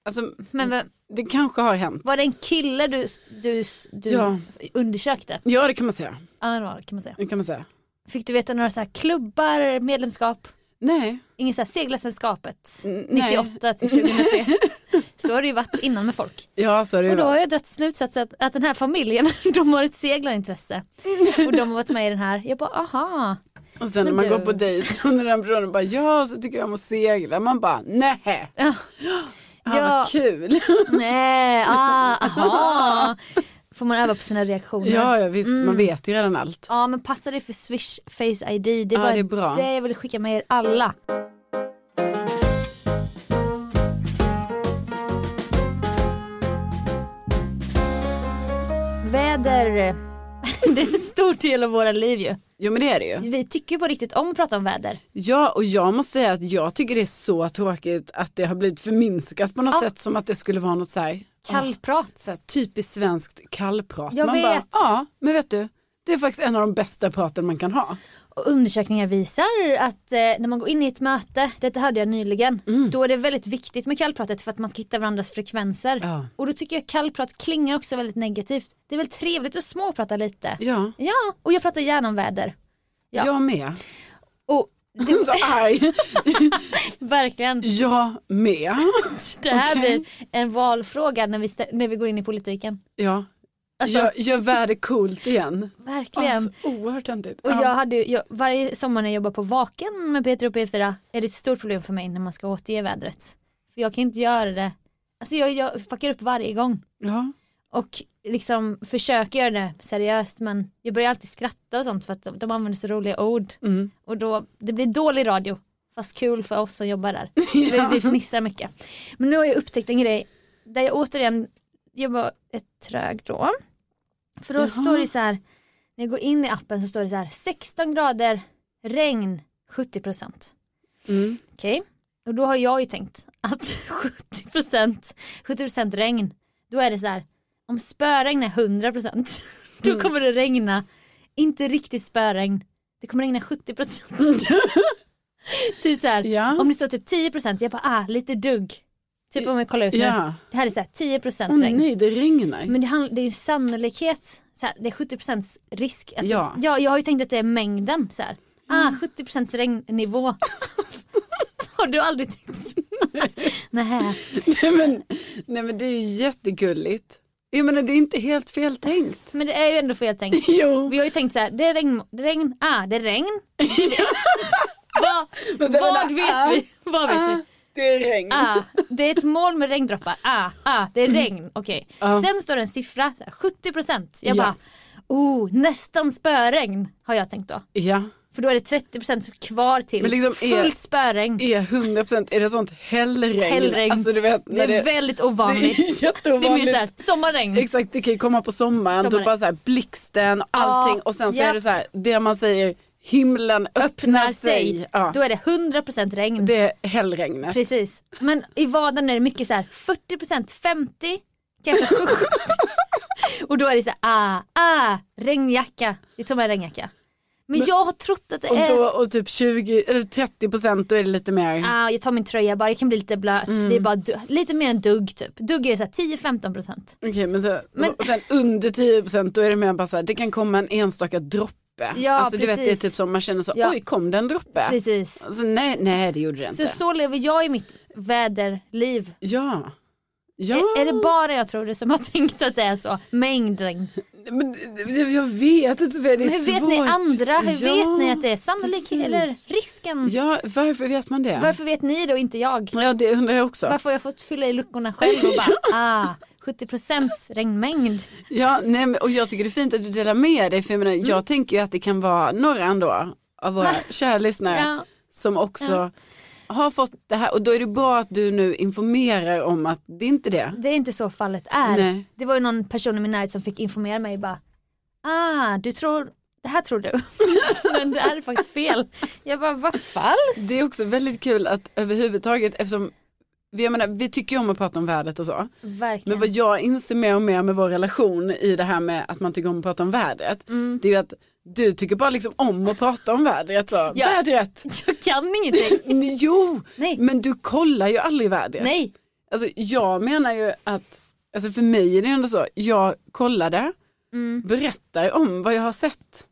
Speaker 4: alltså
Speaker 3: Men vad-
Speaker 4: det kanske har hänt.
Speaker 3: var det en kille du, du, du
Speaker 4: Ja.
Speaker 3: undersökte?
Speaker 4: Ja det kan man säga.
Speaker 3: Ja det var det, kan man säga.
Speaker 4: Det kan man säga.
Speaker 3: Fick du veta några så här klubbar, medlemskap?
Speaker 4: Nej,
Speaker 3: Ingen så här seglarsällskapet
Speaker 4: N- nej.
Speaker 3: 98 till 2003. Så har det ju varit innan med folk.
Speaker 4: ja så har det ju
Speaker 3: Och då har
Speaker 4: varit.
Speaker 3: jag dragit slutsatsen att, att den här familjen, de har ett seglarintresse. Och de har varit med i den här. Jag bara aha.
Speaker 4: Och sen när
Speaker 3: Men
Speaker 4: man
Speaker 3: du-
Speaker 4: går på dejt och när den personen bara ja så tycker jag om att segla. Man bara nej.
Speaker 3: Ja.
Speaker 4: Ja,
Speaker 3: Ja.
Speaker 4: vad kul.
Speaker 3: Nej, ah, aha. Får man öva på sina reaktioner.
Speaker 4: Ja, ja visst,
Speaker 3: Mm.
Speaker 4: man vet ju redan allt.
Speaker 3: Ja men passa dig för Swish Face ID. Det
Speaker 4: Ja,
Speaker 3: var
Speaker 4: det är bra.
Speaker 3: det jag ville skicka med er alla. Väder, det är en stor del av våra liv ju.
Speaker 4: Jo men det är det ju.
Speaker 3: Vi tycker på riktigt om att prata om väder.
Speaker 4: Ja och jag måste säga att jag tycker det är så tråkigt att det har blivit förminskat på något
Speaker 3: Ja.
Speaker 4: sätt som att det skulle vara något så här,
Speaker 3: Kallprat.
Speaker 4: så här typiskt svenskt kallprat.
Speaker 3: Jag
Speaker 4: man
Speaker 3: vet.
Speaker 4: Bara, ja men vet du, det är faktiskt en av de bästa praten man kan ha.
Speaker 3: Och undersökningar visar att eh, när man går in i ett möte, detta hörde jag nyligen,
Speaker 4: Mm.
Speaker 3: då är det väldigt viktigt med kallpratet för att man ska hitta varandras frekvenser.
Speaker 4: Ja.
Speaker 3: Och då tycker jag kallprat klingar också väldigt negativt. Det är väl trevligt att småprata lite.
Speaker 4: Ja,
Speaker 3: Ja, och jag pratar gärna om väder. Ja.
Speaker 4: jag med.
Speaker 3: Och det,
Speaker 4: Så arg.
Speaker 3: verkligen,
Speaker 4: Jag med.
Speaker 3: det här
Speaker 4: Okej.
Speaker 3: blir en valfråga när vi, stä- när vi går in i politiken.
Speaker 4: Ja,
Speaker 3: Alltså,
Speaker 4: gör, gör världen coolt igen.
Speaker 3: verkligen.
Speaker 4: Alltså, oerhört töntigt.
Speaker 3: Och
Speaker 4: Ja.
Speaker 3: jag hade, ju- jag, varje sommar när jag jobbar på Vaken med Peter och P4 är det ett stort problem för mig när man ska återge vädret. För jag kan inte göra det. Alltså jag, jag fuckar upp varje gång.
Speaker 4: ja.
Speaker 3: Och liksom försöker göra det seriöst men jag börjar alltid skratta och sånt för att de, de använder så roliga ord.
Speaker 4: Mm.
Speaker 3: Och då, det blir dålig radio. Fast kul för oss som jobbar där. Vi, vi fnissar mycket. Men nu har jag upptäckt en grej där jag återigen, jag var ett trög då. För då
Speaker 4: Jaha.
Speaker 3: står det så här, när jag går in i appen så står det så här 16 grader, regn 70 procent.
Speaker 4: Mm.
Speaker 3: Okej, och då har jag ju tänkt att 70 procent, 70 procent regn, då är det så här, om spöregn är 100 procent, då
Speaker 4: Mm.
Speaker 3: kommer det regna, inte riktigt spöregn, det kommer regna 70 procent. typ så här,
Speaker 4: Ja.
Speaker 3: om det står typ 10 procent, jag bara ah, lite dugg. Typ om vi kollar ut nu.
Speaker 4: ja.
Speaker 3: Det här är så här 10 procent
Speaker 4: Åh
Speaker 3: regn.
Speaker 4: nej, det regnar.
Speaker 3: Men det, handl- det är ju sannolikhet, så här, det är 70 procents risk. Att,
Speaker 4: Ja. Mm.
Speaker 3: ja, jag har ju tänkt att det är mängden så här. Ah, 70 procents regnnivå. har du aldrig tänkt så? Nej.
Speaker 4: Nej, men, nej men det är ju jättegulligt. Jag menar det är inte helt fel tänkt.
Speaker 3: Men det är ju ändå fel tänkt.
Speaker 4: Jo,
Speaker 3: Vi har ju tänkt så här, det är regn, det är regn, ah, det är regn. Vad,
Speaker 4: det var
Speaker 3: vad
Speaker 4: det,
Speaker 3: vet
Speaker 4: ah,
Speaker 3: vi? Vad vet vi?
Speaker 4: det är regn.
Speaker 3: Ah, det är ett moln med regndroppar. Ah, ah, det är regn. Okej.
Speaker 4: Ja.
Speaker 3: Sen står det en siffra, så här, 70 procent. Jag
Speaker 4: Ah. Ja.
Speaker 3: bara, oh, nästan spöregn har jag tänkt då.
Speaker 4: Ja,
Speaker 3: För då är det 30 procent kvar till.
Speaker 4: Men liksom är-
Speaker 3: Fullt spöregn.
Speaker 4: är 100 procent, är det sånt hällregn?
Speaker 3: Hällregn.
Speaker 4: Alltså du vet,
Speaker 3: det är
Speaker 4: när det,
Speaker 3: väldigt
Speaker 4: det är
Speaker 3: ovanligt. Det är mer
Speaker 4: jätteovanligt.
Speaker 3: såhär, sommarregn.
Speaker 4: Exakt, det kan ju komma på sommaren,
Speaker 3: Sommaren.
Speaker 4: då bara så här blixten och allting
Speaker 3: Ja,
Speaker 4: och sen så
Speaker 3: japp.
Speaker 4: är det så här, det man säger, himlen öppnar,
Speaker 3: öppnar
Speaker 4: sig.
Speaker 3: sig.
Speaker 4: Ja,
Speaker 3: Då är det 100 procent regn.
Speaker 4: det är hällregnet.
Speaker 3: Precis. Men i vaden är det mycket så här 40 procent, 50, kanske 70. Och då är det så här, ah, ah, regnjacka. Jag tar med regnjacka. Men, jag har trott att det
Speaker 4: Och,
Speaker 3: är,
Speaker 4: då, och typ 20 eller 30 procent, då är det lite mer.
Speaker 3: ah, jag tar min tröja bara, jag kan bli lite blöt.
Speaker 4: Mm.
Speaker 3: Det är bara du- lite mer än dugg typ. Dugg är så här 10-15 procent.
Speaker 4: Okej men, så,
Speaker 3: Men-
Speaker 4: och sen under 10 procent då är det mer bara så här, det kan komma en enstaka droppe.
Speaker 3: Ja,
Speaker 4: alltså du vet det är
Speaker 3: precis.
Speaker 4: typ som man känner så,
Speaker 3: Ja.
Speaker 4: oj kom det en droppe?
Speaker 3: Precis.
Speaker 4: Alltså, nej, nej det gjorde det inte.
Speaker 3: Så så lever jag i mitt väderliv.
Speaker 4: Ja. Ja,
Speaker 3: Är, är det bara jag tror det som har tänkt att det är så? Mängdregn.
Speaker 4: men, jag, jag vet inte Sofia, det är
Speaker 3: Men hur vet
Speaker 4: svårt.
Speaker 3: ni andra? Hur
Speaker 4: Ja,
Speaker 3: vet ni att det är sannolikt
Speaker 4: precis.
Speaker 3: eller risken?
Speaker 4: Ja, varför vet man det?
Speaker 3: Varför vet ni det och inte jag?
Speaker 4: Ja, det undrar jag också.
Speaker 3: Varför har jag fått fylla i luckorna själv och bara ah, 70 regnmängd.
Speaker 4: Ja, nej, men, och jag tycker det är fint att du delar med dig, för jag, menar, jag
Speaker 3: Mm.
Speaker 4: tänker ju att det kan vara några ändå av våra kära lyssnare
Speaker 3: Ja.
Speaker 4: som också har fått det här och då är det bra att du nu informerar om att det är inte det.
Speaker 3: Det är inte så fallet är.
Speaker 4: Nej.
Speaker 3: Det var ju någon person i min närhet som fick informera mig bara ah, du tror, det här tror du. Men det här är faktiskt fel. Jag bara, vad falskt?
Speaker 4: Det är också väldigt kul att överhuvudtaget, eftersom vi- jag menar, vi tycker ju om att prata om vädret och så, men
Speaker 3: Verkligen.
Speaker 4: vad jag inser mer och mer med vår relation i det här med att man tycker om att prata om vädret,
Speaker 3: Mm.
Speaker 4: det är ju att du tycker bara liksom om att prata om vädret. Så.
Speaker 3: Ja.
Speaker 4: Vädret!
Speaker 3: Jag kan ingenting.
Speaker 4: Jo,
Speaker 3: Nej.
Speaker 4: men du kollar ju aldrig vädret.
Speaker 3: Nej,
Speaker 4: Alltså jag menar ju att, alltså för mig är det ändå så, jag kollade,
Speaker 3: Mm.
Speaker 4: berättar om vad jag har sett.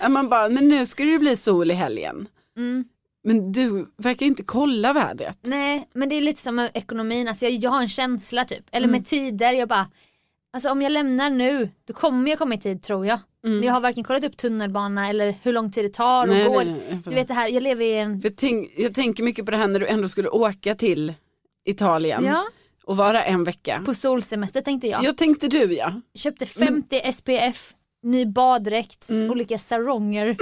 Speaker 4: Att man bara, men nu ska det ju bli sol i helgen.
Speaker 3: Mm.
Speaker 4: Men du verkar inte kolla vädret.
Speaker 3: nej, men det är lite som med ekonomin. Alltså jag, jag har en känsla typ. Eller
Speaker 4: Mm.
Speaker 3: med tider, jag bara Alltså om jag lämnar nu, då kommer jag komma i tid tror jag. Men jag har varken kollat upp tunnelbana eller hur lång tid det tar och
Speaker 4: Mm. Nej,
Speaker 3: går.
Speaker 4: nej, nej, jag fattar.
Speaker 3: du vet det här, jag lever i en...
Speaker 4: För jag, tänk, jag tänker mycket på det här när du ändå skulle åka till Italien.
Speaker 3: Ja.
Speaker 4: och vara en vecka.
Speaker 3: På solsemester tänkte jag.
Speaker 4: Jag tänkte du ja. Mm.
Speaker 3: Köpte 50 SPF, ny baddräkt, olika saronger.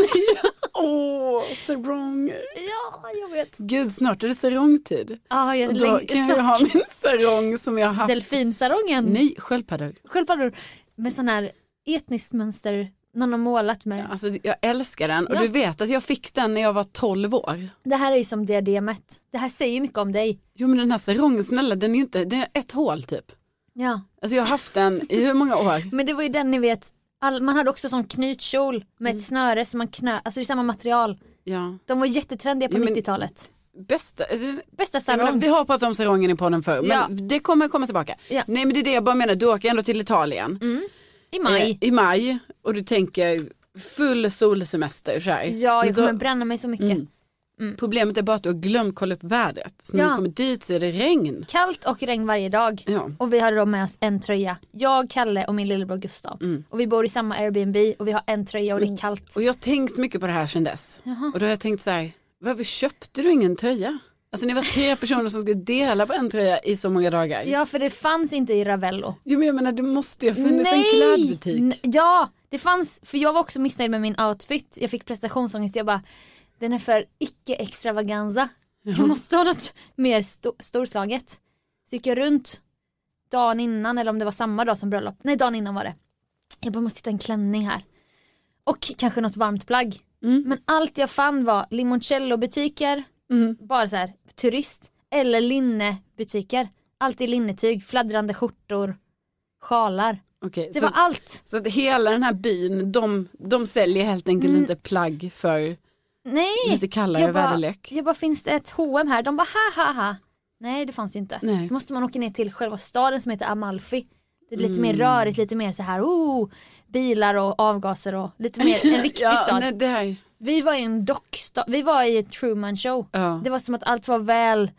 Speaker 4: Åh, sarong.
Speaker 3: ja, jag vet.
Speaker 4: Gud, snart är det sarongtid.
Speaker 3: Ah, jag
Speaker 4: Och då
Speaker 3: läng-
Speaker 4: kan jag
Speaker 3: så-
Speaker 4: ju ha min sarong som jag har haft.
Speaker 3: Delfinsarongen.
Speaker 4: Nej, sköldpaddor.
Speaker 3: Sköldpaddor med sån här etniskt mönster någon har målat med.
Speaker 4: Alltså jag älskar den och
Speaker 3: Ja.
Speaker 4: du vet att jag fick den när jag var 12 år.
Speaker 3: Det här är ju som diademet. Det här säger mycket om dig.
Speaker 4: Jo men den här sarongen snälla den är ju inte, den är ett hål typ.
Speaker 3: Ja.
Speaker 4: Alltså jag har haft den i hur många år?
Speaker 3: Men det var ju den ni vet, all, man hade också sån knytkjol med
Speaker 4: Mm.
Speaker 3: ett snöre som man knö, alltså det är samma material.
Speaker 4: Ja,
Speaker 3: De var jättetrendiga på
Speaker 4: Ja, men-
Speaker 3: 90-talet.
Speaker 4: bästa, alltså,
Speaker 3: Bästa
Speaker 4: Jag menar,
Speaker 3: sarong.
Speaker 4: Vi har pratat om sarongen i podden förr men
Speaker 3: Ja.
Speaker 4: det kommer komma tillbaka.
Speaker 3: Ja.
Speaker 4: Nej men det är det jag bara menar, du åker ändå till Italien
Speaker 3: I maj.
Speaker 4: eh, i maj och du tänker full solsemester så här.
Speaker 3: Ja,
Speaker 4: Men
Speaker 3: jag
Speaker 4: då-
Speaker 3: kommer bränna mig så mycket.
Speaker 4: Mm. Problemet är bara att du har glömt kolla upp vädret. Så när
Speaker 3: Ja.
Speaker 4: du kommer dit så är det regn.
Speaker 3: Kallt och regn varje dag.
Speaker 4: Ja.
Speaker 3: Och vi hade då med oss en tröja. Jag, Kalle och min lillebror Gustav. Och vi bor i samma Airbnb och vi har en tröja och det är kallt.
Speaker 4: Mm. Och jag har tänkt mycket på det här sedan dess.
Speaker 3: Jaha.
Speaker 4: Och då har jag tänkt så här, varför köpte du ingen tröja? Alltså ni var tre personer som skulle dela på en tröja i så många dagar.
Speaker 3: Ja för det fanns inte i Ravello.
Speaker 4: Jo men jag menar det måste ju ha funnits en klädbutik.
Speaker 3: N- Ja, det fanns, för jag var också missnöjd med min outfit. Jag fick prestationsångest. Jag bara, den är för icke extravaganza. Jag måste ha något mer sto- storslaget. Så gick jag runt dagen innan, eller om det var samma dag som bröllop. Nej, dagen innan var det. Jag bara, måste hitta en klänning här. Och kanske något varmt plagg.
Speaker 4: Mm.
Speaker 3: Men allt jag fann var limoncello-butiker,
Speaker 4: Mm.
Speaker 3: bara så här turist. Eller linnebutiker. Alltid linnetyg, fladdrande skjortor, sjalar.
Speaker 4: Okej,
Speaker 3: Det
Speaker 4: så,
Speaker 3: var allt.
Speaker 4: så att hela den här byn, de, de säljer helt enkelt inte plagg för
Speaker 3: Mm. Nej.
Speaker 4: lite kallare
Speaker 3: bara-
Speaker 4: väderlek.
Speaker 3: Jag bara, finns det ett H&M här? De bara, ha ha ha. Nej, det fanns ju inte.
Speaker 4: Nej.
Speaker 3: Då måste man åka ner till själva staden som heter Amalfi. Det är lite mer
Speaker 4: Mm.
Speaker 3: rörigt, lite mer så här, oh, bilar och avgaser och lite mer en riktig
Speaker 4: ja,
Speaker 3: stad.
Speaker 4: Nej, det här,
Speaker 3: Vi var i en dockstad, vi var i ett Truman show.
Speaker 4: ja.
Speaker 3: Det var som att allt var väl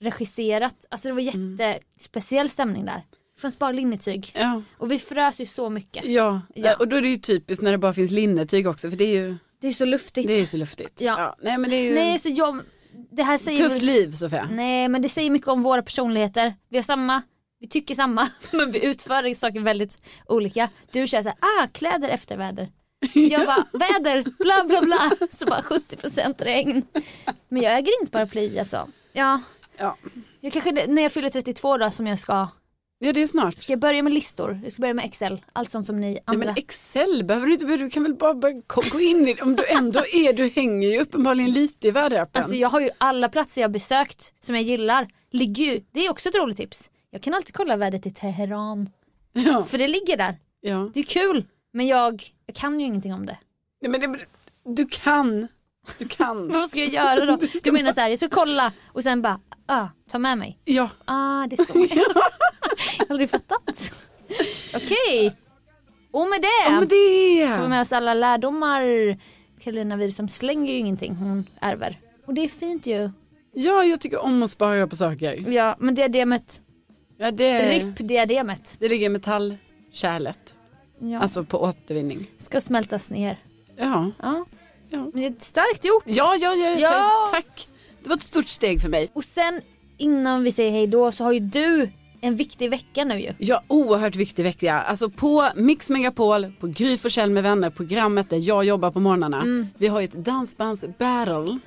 Speaker 3: regisserat. Alltså det var
Speaker 4: Mm.
Speaker 3: jättespeciell stämning där. Det fanns bara linnetyg.
Speaker 4: ja.
Speaker 3: Och vi frös ju så mycket.
Speaker 4: Ja.
Speaker 3: Ja.
Speaker 4: och då är det ju typiskt när det bara finns linnetyg också för det är ju,
Speaker 3: Det är så luftigt.
Speaker 4: det är ju så luftigt.
Speaker 3: Ja.
Speaker 4: Nej men det är ju
Speaker 3: Nej, så jag, det här säger Mm.
Speaker 4: tufft liv Sofia.
Speaker 3: Nej men det säger mycket om våra personligheter. Vi har samma, vi tycker samma men vi utför saker väldigt olika. Du känner såhär, ah kläder efter väder. Jag bara väder, bla bla bla. Så bara 70% regn. Men jag äger inte paraply alltså. Ja.
Speaker 4: Ja.
Speaker 3: Jag kanske när jag fyller 32 då som jag ska,
Speaker 4: ja det är snart.
Speaker 3: ska jag börja med listor? Jag ska börja med Excel, allt sånt som ni
Speaker 4: Nej,
Speaker 3: andra.
Speaker 4: men Excel behöver du inte, börja- du kan väl bara börja ko- gå in i det. Om du ändå är, du hänger ju uppenbarligen lite i väderappen.
Speaker 3: Alltså jag har ju alla platser jag besökt som jag gillar. Ligger ju, det är också ett roligt tips. Jag kan alltid kolla vädret i Teheran.
Speaker 4: ja,
Speaker 3: För det ligger där.
Speaker 4: ja.
Speaker 3: Det är kul, men jag, jag kan ju ingenting om det.
Speaker 4: Nej, men det, du kan, du kan.
Speaker 3: Vad ska jag göra då? Du menar så här, jag ska kolla och sen bara, ah, ta med mig.
Speaker 4: Ja,
Speaker 3: Ah, det står det. Jag har aldrig fattat. Okej, och med det
Speaker 4: ja men det.
Speaker 3: tar vi med oss alla lärdomar. Karolina Widerström slänger ju ingenting, hon ärver. Och det är fint ju.
Speaker 4: Ja, jag tycker om att spara på saker.
Speaker 3: Ja, men diademet,
Speaker 4: Ja, det,
Speaker 3: RIP diademet.
Speaker 4: det ligger i metallkärlet,
Speaker 3: Ja.
Speaker 4: alltså på återvinning.
Speaker 3: Ska smältas ner.
Speaker 4: Ja,
Speaker 3: Ja.
Speaker 4: Ja.
Speaker 3: Men det är starkt gjort.
Speaker 4: ja, ja, ja,
Speaker 3: Ja.
Speaker 4: Tack, tack. Det var ett stort steg för mig.
Speaker 3: Och sen innan vi säger hej då så har ju du en viktig vecka nu ju.
Speaker 4: Ja, oerhört viktig vecka. Alltså på Mix Megapol, på Gry Forssell med vänner, programmet där jag jobbar på morgnarna.
Speaker 3: Mm.
Speaker 4: Vi har ju ett dansbandsbattle.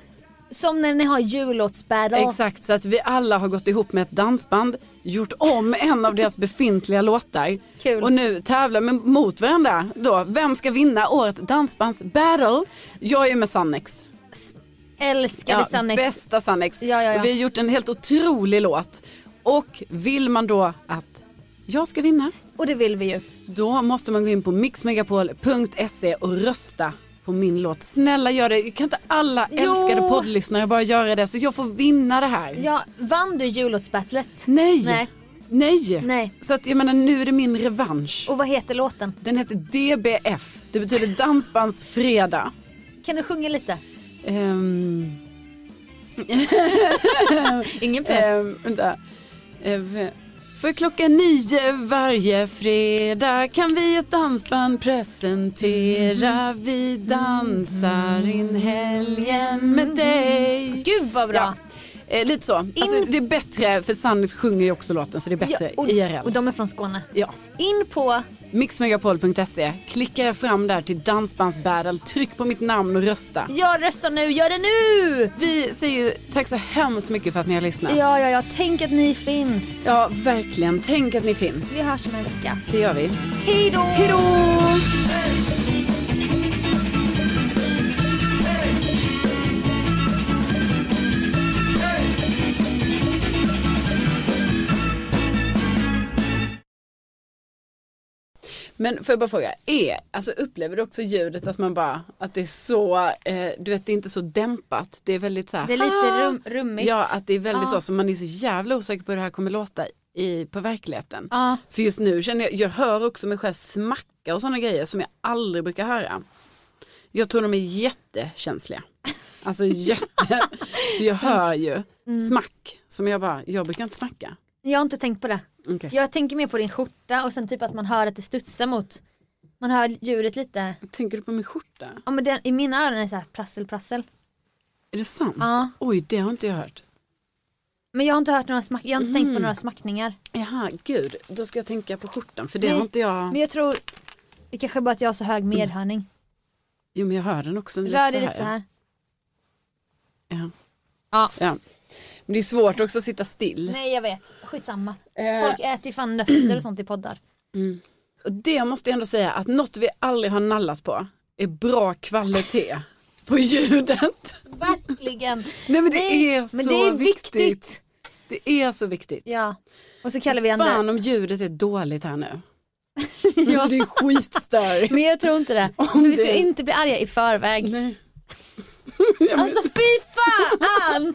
Speaker 3: Som när ni har jullåtsbattle.
Speaker 4: Exakt, så att vi alla har gått ihop med ett dansband, gjort om en av deras befintliga låtar.
Speaker 3: Kul.
Speaker 4: Och nu tävlar vi mot varandra då. Vem ska vinna årets dansbandsbattle? Jag är med Sannex.
Speaker 3: Älskade Sannex.
Speaker 4: Bästa Sannex.
Speaker 3: Ja, ja, ja.
Speaker 4: Och vi har gjort en helt otrolig låt. Och vill man då att jag ska vinna,
Speaker 3: Och det vill vi
Speaker 4: Mm.
Speaker 3: ju.
Speaker 4: då måste man gå in på mixmegapol.se och rösta på min låt. Snälla gör det. Kan inte alla
Speaker 3: Jo.
Speaker 4: älskade poddlyssnare bara göra det så jag får vinna det här?
Speaker 3: Ja, vann du jullåtsbattlet?
Speaker 4: Nej.
Speaker 3: Nej.
Speaker 4: Nej.
Speaker 3: Nej.
Speaker 4: Så att jag menar nu är det min revansch.
Speaker 3: Och vad heter låten?
Speaker 4: Den heter DBF. Det betyder dansbandsfredag.
Speaker 3: Kan du sjunga lite?
Speaker 4: Um,
Speaker 3: Ingen
Speaker 4: Ehm, vänta. Ehm, för klockan nio varje fredag kan vi ett dansband presentera.
Speaker 3: Mm.
Speaker 4: Vi dansar in helgen med dig.
Speaker 3: Gud vad bra.
Speaker 4: Ja. Eh, lite så. Alltså, det är bättre, för Sannis sjunger ju också låten så det är bättre
Speaker 3: och,
Speaker 4: IRL.
Speaker 3: och de är från Skåne.
Speaker 4: Ja.
Speaker 3: In på
Speaker 4: Mixmegapol.se, klicka fram där till Dansbandsbattle, tryck på mitt namn och rösta.
Speaker 3: Jag röstar nu, gör det nu!
Speaker 4: Vi säger ju tack så hemskt mycket för att ni har lyssnat.
Speaker 3: Ja, ja, ja, tänk att ni finns.
Speaker 4: Ja, verkligen. Tänk att ni finns.
Speaker 3: Vi hörs om en vecka.
Speaker 4: Det gör vi.
Speaker 3: Hej då!
Speaker 4: Hej då! Men får jag bara fråga, är, alltså upplever du också ljudet att man bara, att det är så, eh, du vet det är inte så dämpat, det är väldigt så här,
Speaker 3: Det är lite rum, rummigt.
Speaker 4: Ah. Ja, att det är väldigt
Speaker 3: Ja.
Speaker 4: så, så man är så jävla osäker på hur det här kommer låta i, på verkligheten.
Speaker 3: Ja.
Speaker 4: För just nu känner jag, jag hör också mig själv smacka och sådana grejer som jag aldrig brukar höra. Jag tror de är jättekänsliga. Alltså jätte, för jag hör ju
Speaker 3: Mm.
Speaker 4: smack som jag bara, jag brukar inte smacka.
Speaker 3: Jag har inte tänkt på det.
Speaker 4: Okej.
Speaker 3: Jag tänker mer på din skjorta och sen typ att man hör att det studsar mot. Man hör ljudet lite.
Speaker 4: Tänker du på min skjorta?
Speaker 3: Ja, men den, I mina öron är det så här prassel prassel.
Speaker 4: Är det sant?
Speaker 3: Ja.
Speaker 4: Oj, det har inte jag hört.
Speaker 3: Men jag har inte hört några smack, jag har inte
Speaker 4: Mm.
Speaker 3: tänkt på några smackningar.
Speaker 4: Jaha, gud, då ska jag tänka på skjortan för det
Speaker 3: Nej,
Speaker 4: har inte jag.
Speaker 3: Men jag tror, det kanske bara att jag har så hög medhörning.
Speaker 4: Jo men jag hör den också.
Speaker 3: Rör dig lite så här.
Speaker 4: Ja.
Speaker 3: Ja.
Speaker 4: Ja. Men det är svårt också att sitta still.
Speaker 3: Nej jag vet, skitsamma.
Speaker 4: Eh.
Speaker 3: Folk äter ju fan nötter och sånt i poddar.
Speaker 4: Och det måste jag ändå säga att något vi aldrig har nallat på är bra kvalitet på ljudet.
Speaker 3: Verkligen.
Speaker 4: Nej men det
Speaker 3: Nej,
Speaker 4: är så
Speaker 3: men det är
Speaker 4: viktigt. Det är så viktigt.
Speaker 3: Ja. Och så kallar vi
Speaker 4: så
Speaker 3: andra.
Speaker 4: fan om ljudet är dåligt här nu. ja. Det är skitstörigt.
Speaker 3: Men jag tror inte det. För vi ska
Speaker 4: det-
Speaker 3: inte bli arga i förväg.
Speaker 4: Nej.
Speaker 3: Alltså fy fan!